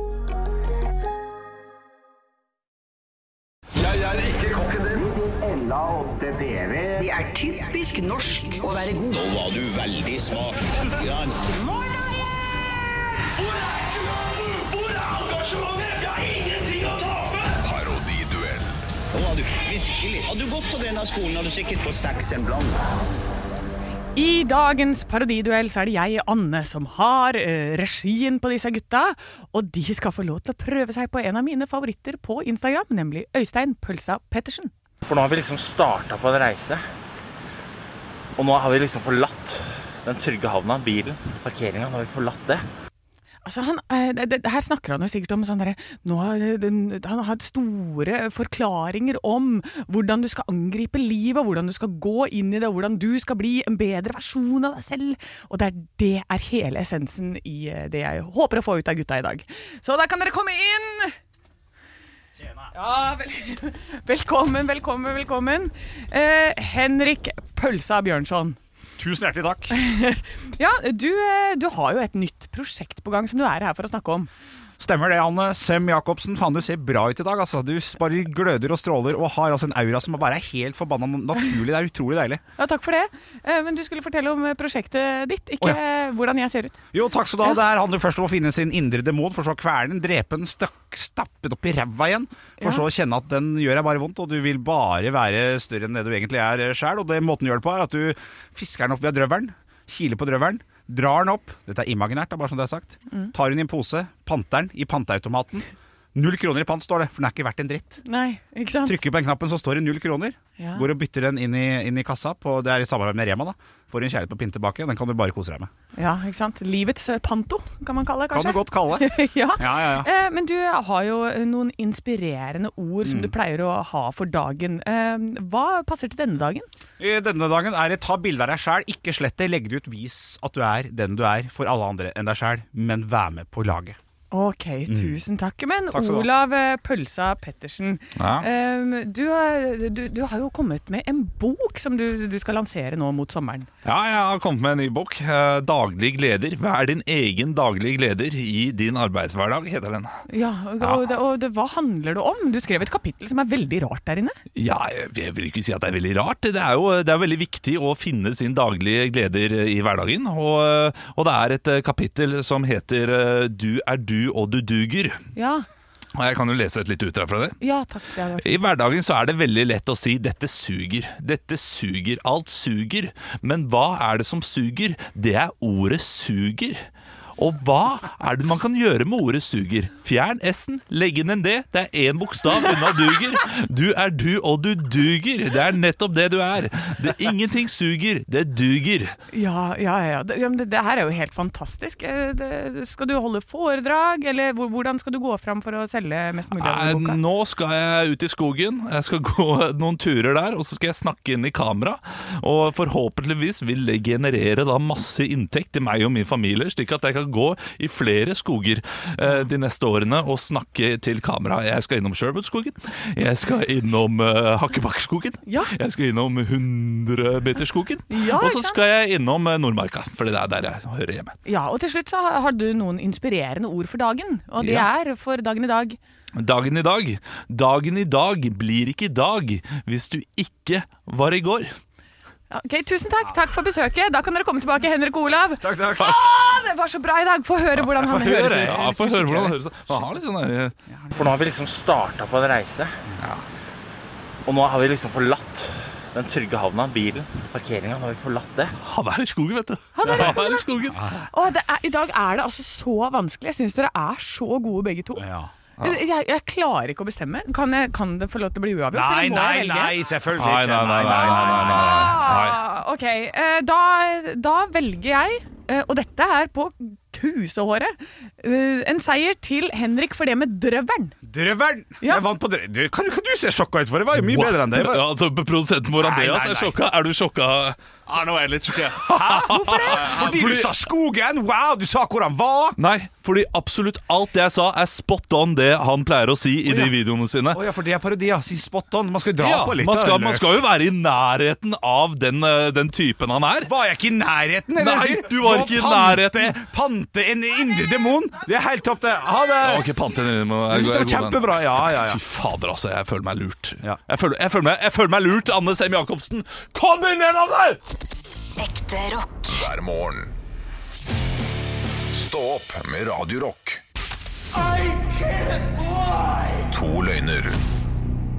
Speaker 6: Det er typisk norsk å være god. Nå var du veldig smak. Hvor er engasjementet? Jeg har ingenting å tape!
Speaker 1: Parodiduell.
Speaker 6: Nå var du virkelig. Hadde du gått på denne skolen, hadde du sikkert fått seks en blant.
Speaker 4: I dagens parodiduell så er det jeg, Anne, som har eh, regien på disse gutta. Og de skal få lov til å prøve seg på en av mine favoritter på Instagram, nemlig Øystein Pølsa Pettersen.
Speaker 7: For nå har vi liksom starta på en reise. Og nå har vi liksom forlatt den trygge havna, bilen, parkeringa. Nå har vi forlatt det.
Speaker 4: Altså han, eh, det, det, her snakker han jo sikkert om sånn derre nå har den- Han har hatt store eh, forklaringer om hvordan du skal angripe livet, hvordan du skal gå inn i det, hvordan du skal bli en bedre versjon av deg selv. Og det er, det er hele essensen i eh, det jeg håper å få ut av gutta i dag. Så da kan dere komme inn! Ja, vel, velkommen, velkommen, velkommen. Eh, Henrik Pølsa Bjørnson.
Speaker 2: Tusen hjertelig takk.
Speaker 4: Ja, du, eh, du har jo et nytt prosjekt på gang som du er her for å snakke om.
Speaker 2: Stemmer det, Anne. Sem Jacobsen, faen du ser bra ut i dag, altså. Du bare gløder og stråler og har altså en aura som bare er helt forbanna naturlig. Det er utrolig deilig.
Speaker 4: Ja, takk for det. Eh, Men du skulle fortelle om eh, prosjektet ditt, ikke
Speaker 2: Å,
Speaker 4: eh, hvordan jeg ser ut.
Speaker 2: Jo, takk skal du ha. Det her handler først om å finne sin indre demon, for så å kvele den, drepe den, stakk, stappe den opp i ræva igjen. For så å kjenne at den gjør deg bare vondt, og du vil bare være større enn det du egentlig er sjæl. Og det måten du gjør det på, er at du fisker den opp via drøvelen, kiler på drøvelen, drar den opp. Dette er imaginært, det er bare som det er sagt.
Speaker 4: Mm.
Speaker 2: Tar hun i en pose, panter den i panteautomaten. Null kroner i pant står det, for den er ikke verdt en dritt.
Speaker 4: Nei, ikke sant?
Speaker 2: Trykker på den knappen, så står det null kroner.
Speaker 4: Ja.
Speaker 2: Går og bytter den inn i, inn i kassa. På, det er i samarbeid med Rema. da Får en kjærlighet på pinn tilbake. Den kan du bare kose deg med.
Speaker 4: Ja, ikke sant? Livets eh, panto, kan man kalle det,
Speaker 2: Kan
Speaker 4: kanskje?
Speaker 2: du godt kalle det.
Speaker 4: ja.
Speaker 2: Ja, ja, ja.
Speaker 4: Eh, Men du har jo noen inspirerende ord som du
Speaker 2: Mm.
Speaker 4: pleier å ha for dagen. Eh, Hva passer til denne dagen?
Speaker 2: I Eh, Denne dagen er det ta bilde av deg sjæl, ikke slett det. Legg det ut, vis at du er den du er for alle andre enn deg sjæl, men vær med på laget.
Speaker 4: Ok, tusen takk. Men
Speaker 2: Mm. Takk skal du ha.
Speaker 4: Olav eh, Pølsa Pettersen,
Speaker 3: Ja.
Speaker 4: eh, du, har- du, du har jo kommet med en bok som du, du skal lansere nå mot sommeren.
Speaker 3: Ja, jeg har kommet med en ny bok. eh, Daglig gleder. Vær din egen daglige gleder i din arbeidshverdag, heter den.
Speaker 4: Ja, og, og, det, og det, Hva handler det om? Du skrev et kapittel som er veldig rart der inne.
Speaker 3: Ja, jeg vil ikke si at det er veldig rart. Det er jo det er veldig viktig å finne sin daglige gleder i hverdagen. Og, eh, og det er et kapittel som heter eh, 'Du er du, og du duger'.
Speaker 4: Ja,
Speaker 3: Og jeg kan jo lese et litt utdrag fra det.
Speaker 4: ja takk. Det hadde vært.
Speaker 3: I hverdagen så er det veldig lett å si 'dette suger', 'dette suger', 'alt suger'. Men hva er det som suger? Det er ordet 'suger'. Og hva er det man kan gjøre med ordet 'suger'? Fjern S-en, legg inn en D. Det er én bokstav unna 'duger'. Du er du, og du duger. Det er nettopp det du er. Det Ingenting suger, det duger.
Speaker 4: Ja, ja, ja. Det, ja men det, det her er jo helt fantastisk. Eh, Det, skal du holde foredrag, eller hvor- hvordan skal du gå fram for å selge mest mulig av
Speaker 3: Nei,
Speaker 4: denne boka?
Speaker 3: Eh, Nå skal jeg ut i skogen. Jeg skal gå noen turer der, og så skal jeg snakke inn i kamera. Og forhåpentligvis vil det generere da masse inntekt til meg og min familie, slik at jeg kan gå i flere skoger eh, de neste årene og snakke til kamera. Jeg skal innom Sherwoodskogen, jeg skal innom eh, Hakkebakkeskogen,
Speaker 4: Ja.
Speaker 3: jeg skal innom 100-meterskogen,
Speaker 4: Ja,
Speaker 3: og
Speaker 4: ikke
Speaker 3: så
Speaker 4: sant?
Speaker 3: skal jeg innom eh, Nordmarka, for det er der jeg hører hjemme.
Speaker 4: Ja, og til slutt så har du noen inspirerende ord for dagen, og det
Speaker 3: Ja.
Speaker 4: er for dagen i dag.
Speaker 3: Dagen i dag. Dagen i dag blir ikke i dag hvis du ikke var i går.
Speaker 4: Ja, Ok, Tusen takk. Takk for besøket. Da kan dere komme tilbake, Henrik og Olav.
Speaker 2: Takk, takk.
Speaker 4: Å, det var så bra i dag! Få høre hvordan han
Speaker 2: høre,
Speaker 4: høres
Speaker 2: ja.
Speaker 4: ut.
Speaker 3: Ja, få høre hvordan det høres ut. Han har litt sånn der-
Speaker 7: For nå har vi liksom starta på en reise. Og nå har vi liksom forlatt den trygge havna, bilen, parkeringa. Nå har vi forlatt det.
Speaker 3: Han er i skogen, vet du.
Speaker 4: Han er i skogen,
Speaker 3: i skogen.
Speaker 2: Ah,
Speaker 4: Å, det er, I dag er det altså så vanskelig. Jeg syns dere er så gode begge to.
Speaker 2: Ja.
Speaker 4: Jeg, jeg- jeg klarer ikke å bestemme. Kan, jeg, kan det få lov til å bli uavgjort?
Speaker 2: Nei,
Speaker 4: eller må
Speaker 2: nei,
Speaker 4: jeg velge?
Speaker 2: nei, selvfølgelig
Speaker 3: Nei, nei, nei, nei, nei, nei, nei. nei.
Speaker 4: Ah, ok, eh, da, da velger jeg, eh, og dette er på kusehåret, eh, en seier til Henrik for det med drøvelen.
Speaker 2: Drøvelen!
Speaker 4: Ja.
Speaker 2: Jeg vant på drøvelen. Du, hva, hva du ser sjokka ut for? Det var jo mye bedre enn det.
Speaker 3: Ja, altså, Produsenten vår
Speaker 2: Nei, nei,
Speaker 3: Andreas er altså.
Speaker 2: nei.
Speaker 3: sjokka. Er du sjokka?
Speaker 8: Ja, nå er jeg litt sjokkert.
Speaker 4: Hvorfor det?
Speaker 2: Fordi du sa skogen! Wow, du sa hvor han var!
Speaker 3: Nei, fordi absolutt alt jeg sa, er spot on det han pleier å si i de videoene sine.
Speaker 2: Å ja, for det er parodi, ja. Si spot on. Man skal dra
Speaker 3: Ja,
Speaker 2: på litt.
Speaker 3: man
Speaker 2: da,
Speaker 3: skal, man
Speaker 2: eller?
Speaker 3: skal jo være i nærheten av den, eh, den typen han er.
Speaker 2: Var jeg ikke i nærheten? eller? Jeg
Speaker 3: Nei,
Speaker 2: sier,
Speaker 3: du var ikke i
Speaker 2: pante-
Speaker 3: nærheten.
Speaker 2: Pante en indre demon! Det er helt topp, det. Ha det!
Speaker 3: Ja, Ok, pante den inn, men
Speaker 2: Jeg
Speaker 3: jeg-
Speaker 2: synes det var
Speaker 3: jeg er god den.
Speaker 2: kjempebra. Ja, ja, ja.
Speaker 3: Fy fader, altså. Jeg føler meg lurt.
Speaker 2: Ja.
Speaker 3: Jeg, føler, jeg, føler meg, jeg føler meg lurt, Anne Sem Jacobsen. Kom deg ned av deg!
Speaker 5: Ekte rock.
Speaker 1: hver morgen. Stå opp med Radio Rock. To løgner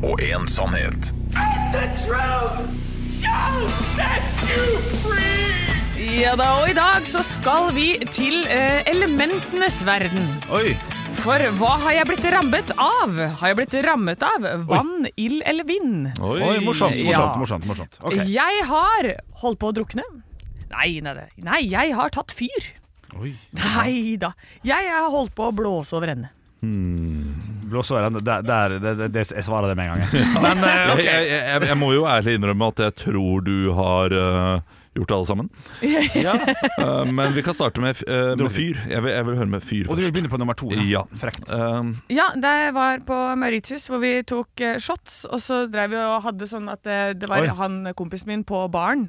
Speaker 1: og én sannhet.
Speaker 4: Ja da, og i dag så skal vi til eh, elementenes verden.
Speaker 2: Oi.
Speaker 4: For hva har jeg blitt rammet av? Har jeg blitt rammet av vann, ild eller vind?
Speaker 2: Oi, morsomt,
Speaker 4: Ja.
Speaker 2: morsomt, morsomt, morsomt. Ok.
Speaker 4: Jeg har holdt på å drukne. Nei, nei, nei. nei jeg har tatt fyr.
Speaker 2: Oi.
Speaker 4: Nei da. Jeg har holdt på å blåse over ende.
Speaker 2: Blåsårene, der, der, der, der, der Jeg svarer det med en gang. jeg. Men eh, ok.
Speaker 3: jeg, jeg, jeg, jeg må jo ærlig innrømme at jeg tror du har eh, gjort alle sammen. Eh, men vi kan starte med, f- eh, med fyr. Jeg vil, jeg vil høre med
Speaker 2: Og
Speaker 3: fyr
Speaker 2: du vil
Speaker 3: først.
Speaker 2: begynne på nummer to?
Speaker 3: Ja.
Speaker 2: Frekt.
Speaker 3: Eh,
Speaker 4: Ja, det var på Mauritius hvor vi tok eh, shots, og så drev vi og hadde sånn at det, det var eh,
Speaker 2: Oi.
Speaker 4: han kompisen min på baren.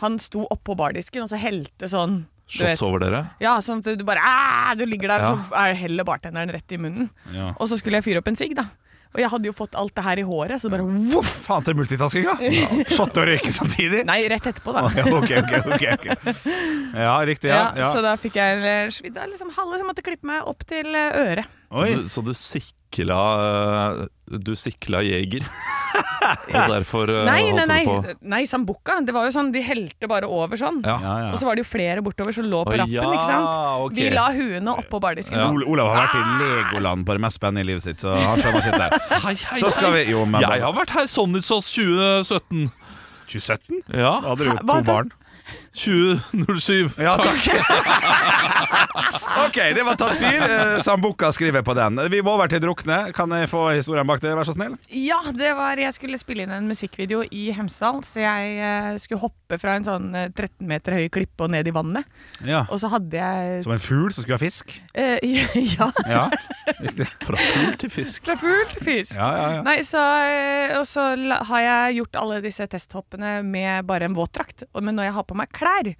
Speaker 4: Han sto oppå bardisken og så helte sånn vet.
Speaker 3: Shots over dere?
Speaker 4: Ja, sånn at du bare "Æ", Du ligger der,
Speaker 3: Ja.
Speaker 4: så er heller bartenderen rett i munnen.
Speaker 3: Ja.
Speaker 4: Og så skulle jeg fyre opp en sigg, da. Og jeg hadde jo fått alt det her i håret, så det bare voff!
Speaker 2: Faen til multitasking, da! Shot og røyke samtidig?
Speaker 4: Nei, rett etterpå, da.
Speaker 2: Å, Ja, ok, ok, ok, ok. Ja, riktig. Ja.
Speaker 4: Ja,
Speaker 2: ja.
Speaker 4: Så da fikk jeg eh, svidd av liksom halve, så jeg måtte klippe meg opp til eh, øret.
Speaker 3: Så
Speaker 2: Oi.
Speaker 3: du, så du sikla eh, Du sikla jeger. Og derfor eh,
Speaker 4: Nei, nei,
Speaker 3: holdt
Speaker 4: nei.
Speaker 3: du på.
Speaker 4: nei Sambuca. Det var jo sånn, de helte bare over sånn.
Speaker 3: Ja.
Speaker 2: Ja, ja.
Speaker 4: Og så var det jo flere bortover som lå
Speaker 3: Å,
Speaker 4: på rappen,
Speaker 3: ja,
Speaker 4: ikke sant.
Speaker 3: ok.
Speaker 4: Vi la huene oppå bardisken.
Speaker 2: Ol-
Speaker 4: sånn.
Speaker 2: Olav har vært i Legoland på det mest spennende i livet sitt, så han skjønner sitt der.
Speaker 3: Hei, hei,
Speaker 2: Så skal
Speaker 3: hei.
Speaker 2: vi- jo, men-
Speaker 3: Jeg har vært her sånn i sås 2017.
Speaker 2: 2017? Da
Speaker 3: Ja.
Speaker 2: hadde du jo to
Speaker 4: Hva da?
Speaker 2: barn.
Speaker 3: 2007.
Speaker 2: Ja, takk. ok, det var tatt fyr. Eh, Sambuca skriver på den. Vi må over til drukne. Kan jeg få historien bak det, vær så snill?
Speaker 4: Ja, det var Jeg skulle spille inn en musikkvideo i Hemsedal, så jeg eh, skulle hoppe fra en sånn eh, 13 meter høy klippe og ned i vannet.
Speaker 2: Ja.
Speaker 4: Og så hadde jeg
Speaker 2: Som en fugl som skulle ha fisk?
Speaker 4: eh, Ja,
Speaker 2: Ja,
Speaker 3: Fra fugl til fisk.
Speaker 4: fra fugl til fisk.
Speaker 2: ja, ja. ja.
Speaker 4: Nei, så, eh, og så la- har jeg gjort alle disse testhoppene med bare en våtdrakt. Og- Men når jeg har på meg klær,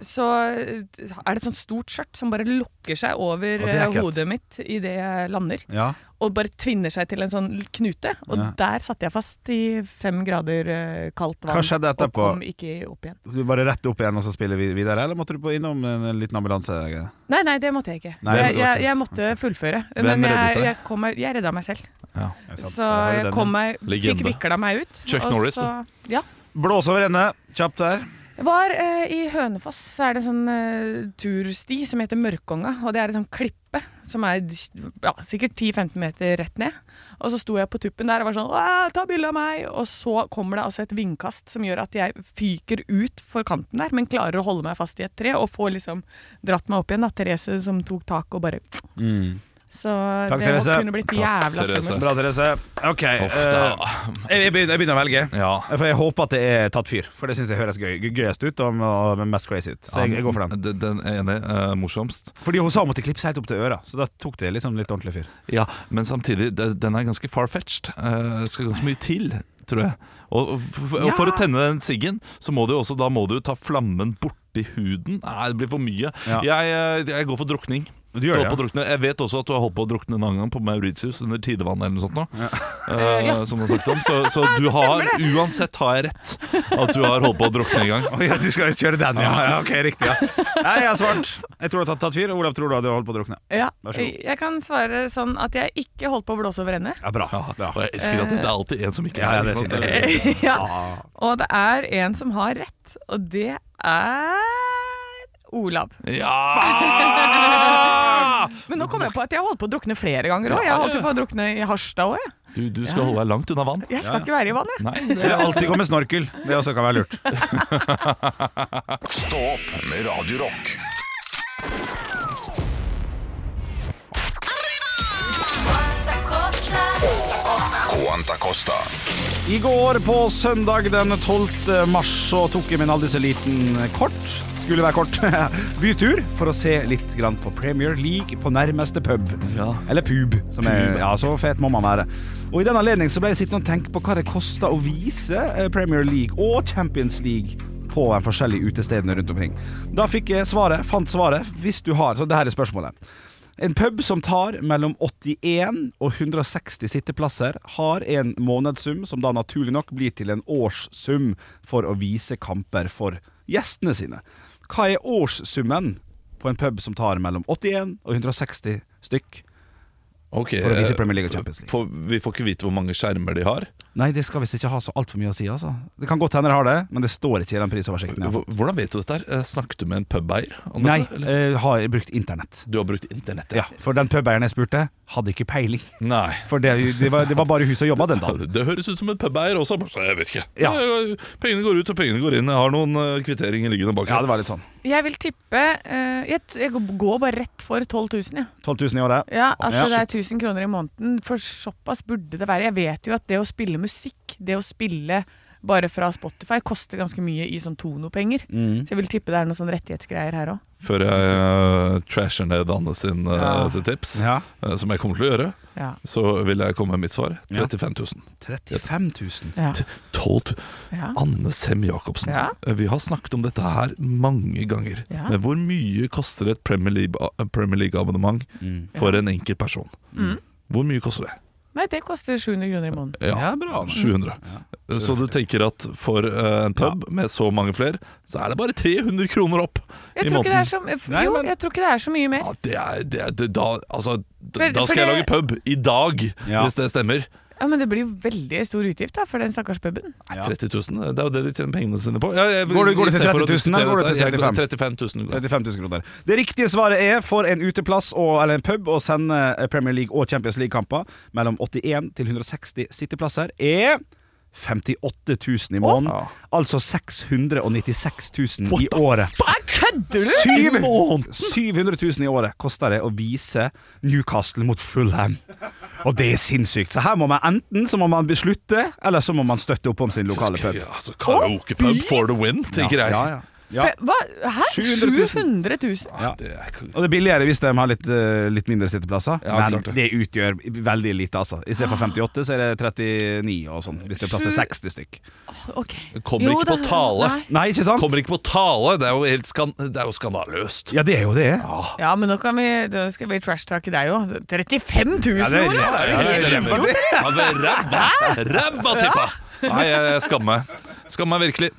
Speaker 4: så eh, er det et sånt stort skjørt som bare lukker seg over
Speaker 2: det er
Speaker 4: eh,
Speaker 2: ekkelt.
Speaker 4: hodet mitt idet jeg lander.
Speaker 2: ja.
Speaker 4: Og bare tvinner seg til en sånn knute. Og
Speaker 2: Ja.
Speaker 4: der satt jeg fast i fem grader eh, kaldt vann.
Speaker 2: Hva skjedde etterpå?
Speaker 4: Og kom ikke opp igjen.
Speaker 2: Du bare rett opp igjen og så spiller vi videre, eller måtte du på innom en en liten ambulanse?
Speaker 4: Nei, nei, det måtte jeg ikke.
Speaker 2: Nei, det
Speaker 4: jeg,
Speaker 2: var ikke
Speaker 4: jeg, jeg måtte fullføre.
Speaker 2: Hvem
Speaker 4: Men
Speaker 2: reddet
Speaker 4: jeg,
Speaker 2: deg?
Speaker 4: jeg, kom meg, jeg redda meg selv.
Speaker 2: Ja,
Speaker 4: Så jeg kom meg, fikk
Speaker 3: Legende.
Speaker 4: vikla meg ut.
Speaker 3: Chuck
Speaker 4: og
Speaker 3: Norris,
Speaker 4: så- Ja.
Speaker 2: Blås over ende, kjapt der.
Speaker 4: Jeg var eh, i Hønefoss, så er det en sånn eh, tursti som heter Mørkonga. Og det er en sånn klippe som er ja, sikkert 10-15 meter rett ned. Og så sto jeg på tuppen der og var sånn «Åh, Ta bilde av meg! Og så kommer det altså et vindkast som gjør at jeg fyker ut for kanten der, men klarer å holde meg fast i et tre og får liksom dratt meg opp igjen. da Therese som tok tak og bare Så
Speaker 2: Mm. Takk,
Speaker 4: det må-
Speaker 2: Therese.
Speaker 4: kunne blitt
Speaker 3: Takk,
Speaker 4: jævla
Speaker 3: Therese.
Speaker 4: skummelt.
Speaker 2: Bra, Therese. Ok,
Speaker 3: Uff,
Speaker 2: eh,
Speaker 3: da.
Speaker 2: jeg, jeg, begynner, jeg begynner å velge.
Speaker 3: Ja.
Speaker 2: For jeg håper at det er tatt fyr, for det syns jeg høres gøy, gøyest ut og, og mest crazy ut. Så jeg, jeg går for den.
Speaker 3: Den, den er enig. eh, morsomst.
Speaker 2: Fordi hun sa hun måtte klippe seg helt opp til øra, så da tok det liksom litt ordentlig fyr.
Speaker 3: Ja, men samtidig, de- den er ganske far-fetched. Eh, skal ganske mye til, tror jeg. Og, og f- og for å tenne den siggen, så må du jo også da må du jo ta flammen borti huden. Nei, det blir for mye.
Speaker 2: Ja.
Speaker 3: Jeg, eh, jeg går for drukning.
Speaker 2: Du gjør det,
Speaker 3: Holdt på
Speaker 2: ja.
Speaker 3: å drukne. Jeg vet også at du har holdt på å drukne en annen gang på Mauritius under tidevann eller noe sånt. Nå, Eh, Som du har snakket om. Så, så du har uansett har jeg rett at du har holdt på å drukne en gang.
Speaker 2: Å, ja, du skal kjøre den, ja. ja ok, riktig. Ja. Nei, jeg har svart. Jeg tror du har tatt, tatt fyr. Olav tror du hadde holdt på å drukne.
Speaker 4: Ja,
Speaker 2: Vær så god.
Speaker 4: jeg kan svare sånn at jeg ikke holdt på å blåse over ende.
Speaker 2: Ja, bra. bra.
Speaker 3: Og jeg elsker at det er alltid en som ikke
Speaker 2: Ja, ja,
Speaker 3: er
Speaker 2: det er
Speaker 3: ikke sant?
Speaker 2: fint, det er fint.
Speaker 4: ja. Og det er en som har rett, og det er Olav.
Speaker 3: Ja!
Speaker 4: Men nå kom jeg på at jeg holdt på å drukne flere ganger òg. Jeg holdt jo på å drukne i Harstad òg.
Speaker 3: Du, du skal holde deg langt unna vann.
Speaker 4: Jeg skal ikke være i vannet.
Speaker 3: Nei,
Speaker 2: Eller alltid gå med snorkel. Det også kan være lurt.
Speaker 1: Stå opp med Radio Rock. Quanta Costa.
Speaker 2: I går på søndag den 12. mars så tok jeg min aldri så liten kort skulle være kort bytur for å se litt grann på Premier League på nærmeste pub.
Speaker 3: Ja.
Speaker 2: Eller pub, som er Ja, så fet må man være. Og I den anledning så ble jeg sittende og tenke på hva det kosta å vise eh, Premier League og Champions League på de forskjellige utestedene rundt omkring. Da fikk jeg svaret, fant svaret, hvis du har Så det her er spørsmålet. En pub som tar mellom 81 og 160 sitteplasser, har en månedssum som da naturlig nok blir til en årssum for å vise kamper for gjestene sine. Hva er årssummen på en pub som tar mellom 81 og 160 stykk?
Speaker 3: Ok,
Speaker 2: For å vise
Speaker 3: eh,
Speaker 2: Premier League og Champions League.
Speaker 3: får- vi får ikke vite hvor mange skjermer de har.
Speaker 2: Nei, det skal visst ikke ha så altfor mye å si, altså. Det kan godt hende de har det, men det står ikke i den prisoversikten. jeg har
Speaker 3: Hvor-
Speaker 2: fått.
Speaker 3: Hvordan vet du dette? her? Eh, Snakket du med en pubeier? om
Speaker 2: Nei,
Speaker 3: dette, eller?
Speaker 2: eh, har brukt internett.
Speaker 3: Du har brukt internettet?
Speaker 2: Ja, For den pubeieren jeg spurte, hadde ikke peiling.
Speaker 3: Nei.
Speaker 2: For det, det, var, det var bare hun som jobba den
Speaker 3: Ja,
Speaker 2: dagen.
Speaker 3: det det høres ut som en pubeier også. Bare, så Jeg vet ikke.
Speaker 2: Ja.
Speaker 3: Eh, Pengene går ut, og pengene går inn. Jeg har noen eh, kvitteringer liggende bak
Speaker 2: Ja,
Speaker 3: her.
Speaker 2: det var litt sånn.
Speaker 4: Jeg vil tippe eh, jeg, t- jeg går bare rett for 12 000, jeg.
Speaker 2: 12 000 i året.
Speaker 4: Ja, at
Speaker 2: Ja.
Speaker 4: det er 1000 kroner i måneden. For såpass burde det være. Jeg vet jo at det å spille musikk, det å spille bare fra Spotify, koster ganske mye i sånn tonopenger. Så jeg vil tippe det er noen sånn rettighetsgreier her òg.
Speaker 3: før jeg eh, trasher ned Anne sin, eh,
Speaker 4: Ja.
Speaker 3: sitt tips,
Speaker 2: Ja.
Speaker 3: eh, som jeg kommer til å gjøre,
Speaker 4: Ja.
Speaker 3: så vil jeg komme med mitt svar. 35 000.
Speaker 2: 35 000.
Speaker 4: Ja.
Speaker 3: 12 000.
Speaker 4: Ja.
Speaker 3: Anne Sem Jacobsen,
Speaker 4: Ja.
Speaker 3: eh, vi har snakket om dette her mange ganger.
Speaker 4: Ja.
Speaker 3: Men hvor mye koster et Premier League- eh, Premier League-abonnement
Speaker 2: Mm.
Speaker 3: for en enkelt person?
Speaker 4: Mm.
Speaker 3: Hvor mye koster det?
Speaker 4: Nei, det koster 700 kroner i måneden.
Speaker 3: Ja, bra. 700. Så du tenker at for eh, en pub med så mange flere, så er det bare 300 kroner opp i
Speaker 4: Jeg tror, ikke det
Speaker 3: måneden?
Speaker 4: er så,
Speaker 2: Nei,
Speaker 4: jo,
Speaker 2: men-
Speaker 4: jeg tror ikke det er så mye mer.
Speaker 3: Ja, det er, det er, det, da, altså, da,
Speaker 4: For-
Speaker 3: da skal
Speaker 4: for
Speaker 3: jeg lage
Speaker 4: det-
Speaker 3: pub i dag,
Speaker 2: Ja.
Speaker 3: hvis det stemmer.
Speaker 4: Ja, Men det blir jo veldig stor utgift da, for den stakkars puben.
Speaker 2: Ja.
Speaker 3: 30 000, det er jo det de tjener pengene sine på. Ja, jeg-
Speaker 2: Går det- går det til
Speaker 3: i stedet for å
Speaker 2: 30 000, eller går det til
Speaker 3: diskutere dette, jeg-
Speaker 2: 35
Speaker 3: 35 000.
Speaker 2: 35 000 kroner. Det riktige svaret er for en uteplass og, eller en pub å sende eh, Premier League og Champions League-kamper mellom 81 til 160 sitteplasser er 58 000 i måneden. Altså 696 000 i året.
Speaker 4: Kødder du?!
Speaker 2: Syv- 700 000 i året koster det å vise Newcastle mot Fulham. Og det er sinnssykt. Så her må man enten så må man beslutte, eller så må man støtte opp om sin lokale pub.
Speaker 3: Ja, altså, Karaokepub for the win, tenker jeg.
Speaker 2: Ja, ja. Ja.
Speaker 4: Hva? Hæ?
Speaker 2: 700 000.
Speaker 4: 700 000?
Speaker 2: Ja.
Speaker 3: Det er-
Speaker 2: Og det er billigere hvis de har litt, eh, litt mindre sitteplasser.
Speaker 3: Ja,
Speaker 2: men
Speaker 3: klart det.
Speaker 2: det. utgjør veldig lite, altså. I stedet for 58, så er det 39 og sånn. Hvis det er plass til
Speaker 4: Ah. Sju-
Speaker 2: 60 stykk.
Speaker 4: Ok.
Speaker 3: Kommer ikke på tale.
Speaker 4: Nei.
Speaker 2: Nei, ikke sant?
Speaker 3: Kommer ikke på tale, det er jo, helt skan det er jo skandaløst.
Speaker 2: Ja, det er jo det.
Speaker 4: Ja, men nå kan vi, da skal vi trash-take deg òg. 35 000
Speaker 2: Ja, det er-
Speaker 4: år, ja!
Speaker 2: ja, det er-
Speaker 4: Helt
Speaker 2: det er-
Speaker 4: idiot.
Speaker 3: Ja, det er Ræva Ræva tippa! Nei, jeg, jeg skammer meg. Skammer meg virkelig.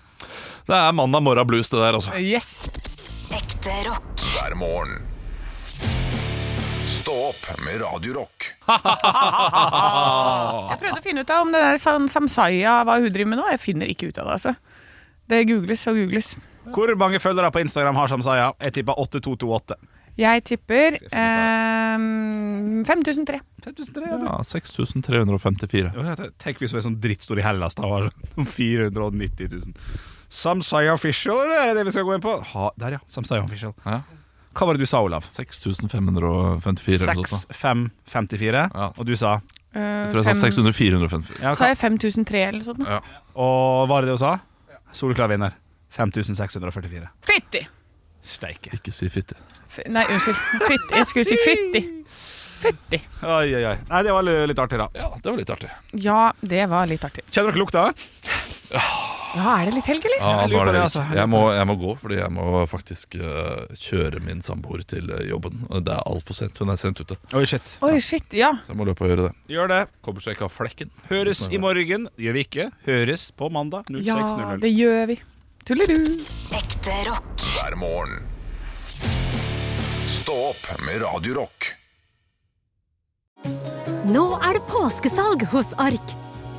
Speaker 3: Det er mandag morgen blues, det der, altså.
Speaker 4: Yes.
Speaker 5: Ekte rock.
Speaker 1: hver morgen. Stå opp med Radio Rock.
Speaker 4: Jeg prøvde å finne ut av om det der sam- Samsaya, hva hun driver med nå. Jeg finner ikke ut av det, altså. Det googles og googles.
Speaker 2: Hvor mange følgere på Instagram har Samsaya? Jeg tipper 8228.
Speaker 4: Jeg tipper eh, 5003.
Speaker 2: 5300.
Speaker 3: Ja, 6354.
Speaker 2: Tenk hvis hun er sånn drittstor i Hellas da har sånn 490 000. Samsaya Official, eller er det det vi skal gå inn på? Ha, der, ja. Samsaya Official.
Speaker 3: Ja.
Speaker 2: Hva var det du sa, Olav?
Speaker 3: 6554 eller noe sånt.
Speaker 2: 6554.
Speaker 3: Ja.
Speaker 2: Og du sa?
Speaker 3: Jeg tror jeg
Speaker 2: sånn
Speaker 3: sa 600 454.
Speaker 2: Ja,
Speaker 4: Eh, Sa jeg 5003 eller noe sånt? nå?
Speaker 2: Og hva er det du sa? Soleklar vinner. 5644.
Speaker 4: Fytti!
Speaker 2: Steike.
Speaker 3: Ikke si fitte.
Speaker 4: F- Nei, unnskyld. Fytti. Jeg skulle si fytti. Fytti.
Speaker 2: Oi, oi, oi. Nei, det var li- litt artig, da.
Speaker 3: Ja, det var litt artig.
Speaker 4: Ja, det var litt artig.
Speaker 2: Kjenner dere lukta?
Speaker 4: Ja, er det litt helg, eller?
Speaker 3: Ja,
Speaker 2: Jeg lurer
Speaker 3: nå er
Speaker 2: på
Speaker 3: det
Speaker 2: det,
Speaker 3: helg.
Speaker 2: altså. Jeg
Speaker 3: jeg, må, jeg må gå, fordi jeg må faktisk øh, kjøre min samboer til øh, jobben. Og Det er altfor sent. Hun er sent ute.
Speaker 2: Oi, shit.
Speaker 4: Oi, shit. Ja.
Speaker 3: Så jeg må løpe og gjøre det.
Speaker 2: Gjør det.
Speaker 3: Kommer seg ikke av flekken.
Speaker 2: Høres i morgen. Gjør vi ikke. Høres på mandag
Speaker 4: Ja,
Speaker 2: 06.00.
Speaker 4: det gjør vi. Tulleru.
Speaker 5: Ekte rock.
Speaker 1: hver morgen. Stå opp med Radio Rock.
Speaker 8: Nå er det påskesalg hos Ark.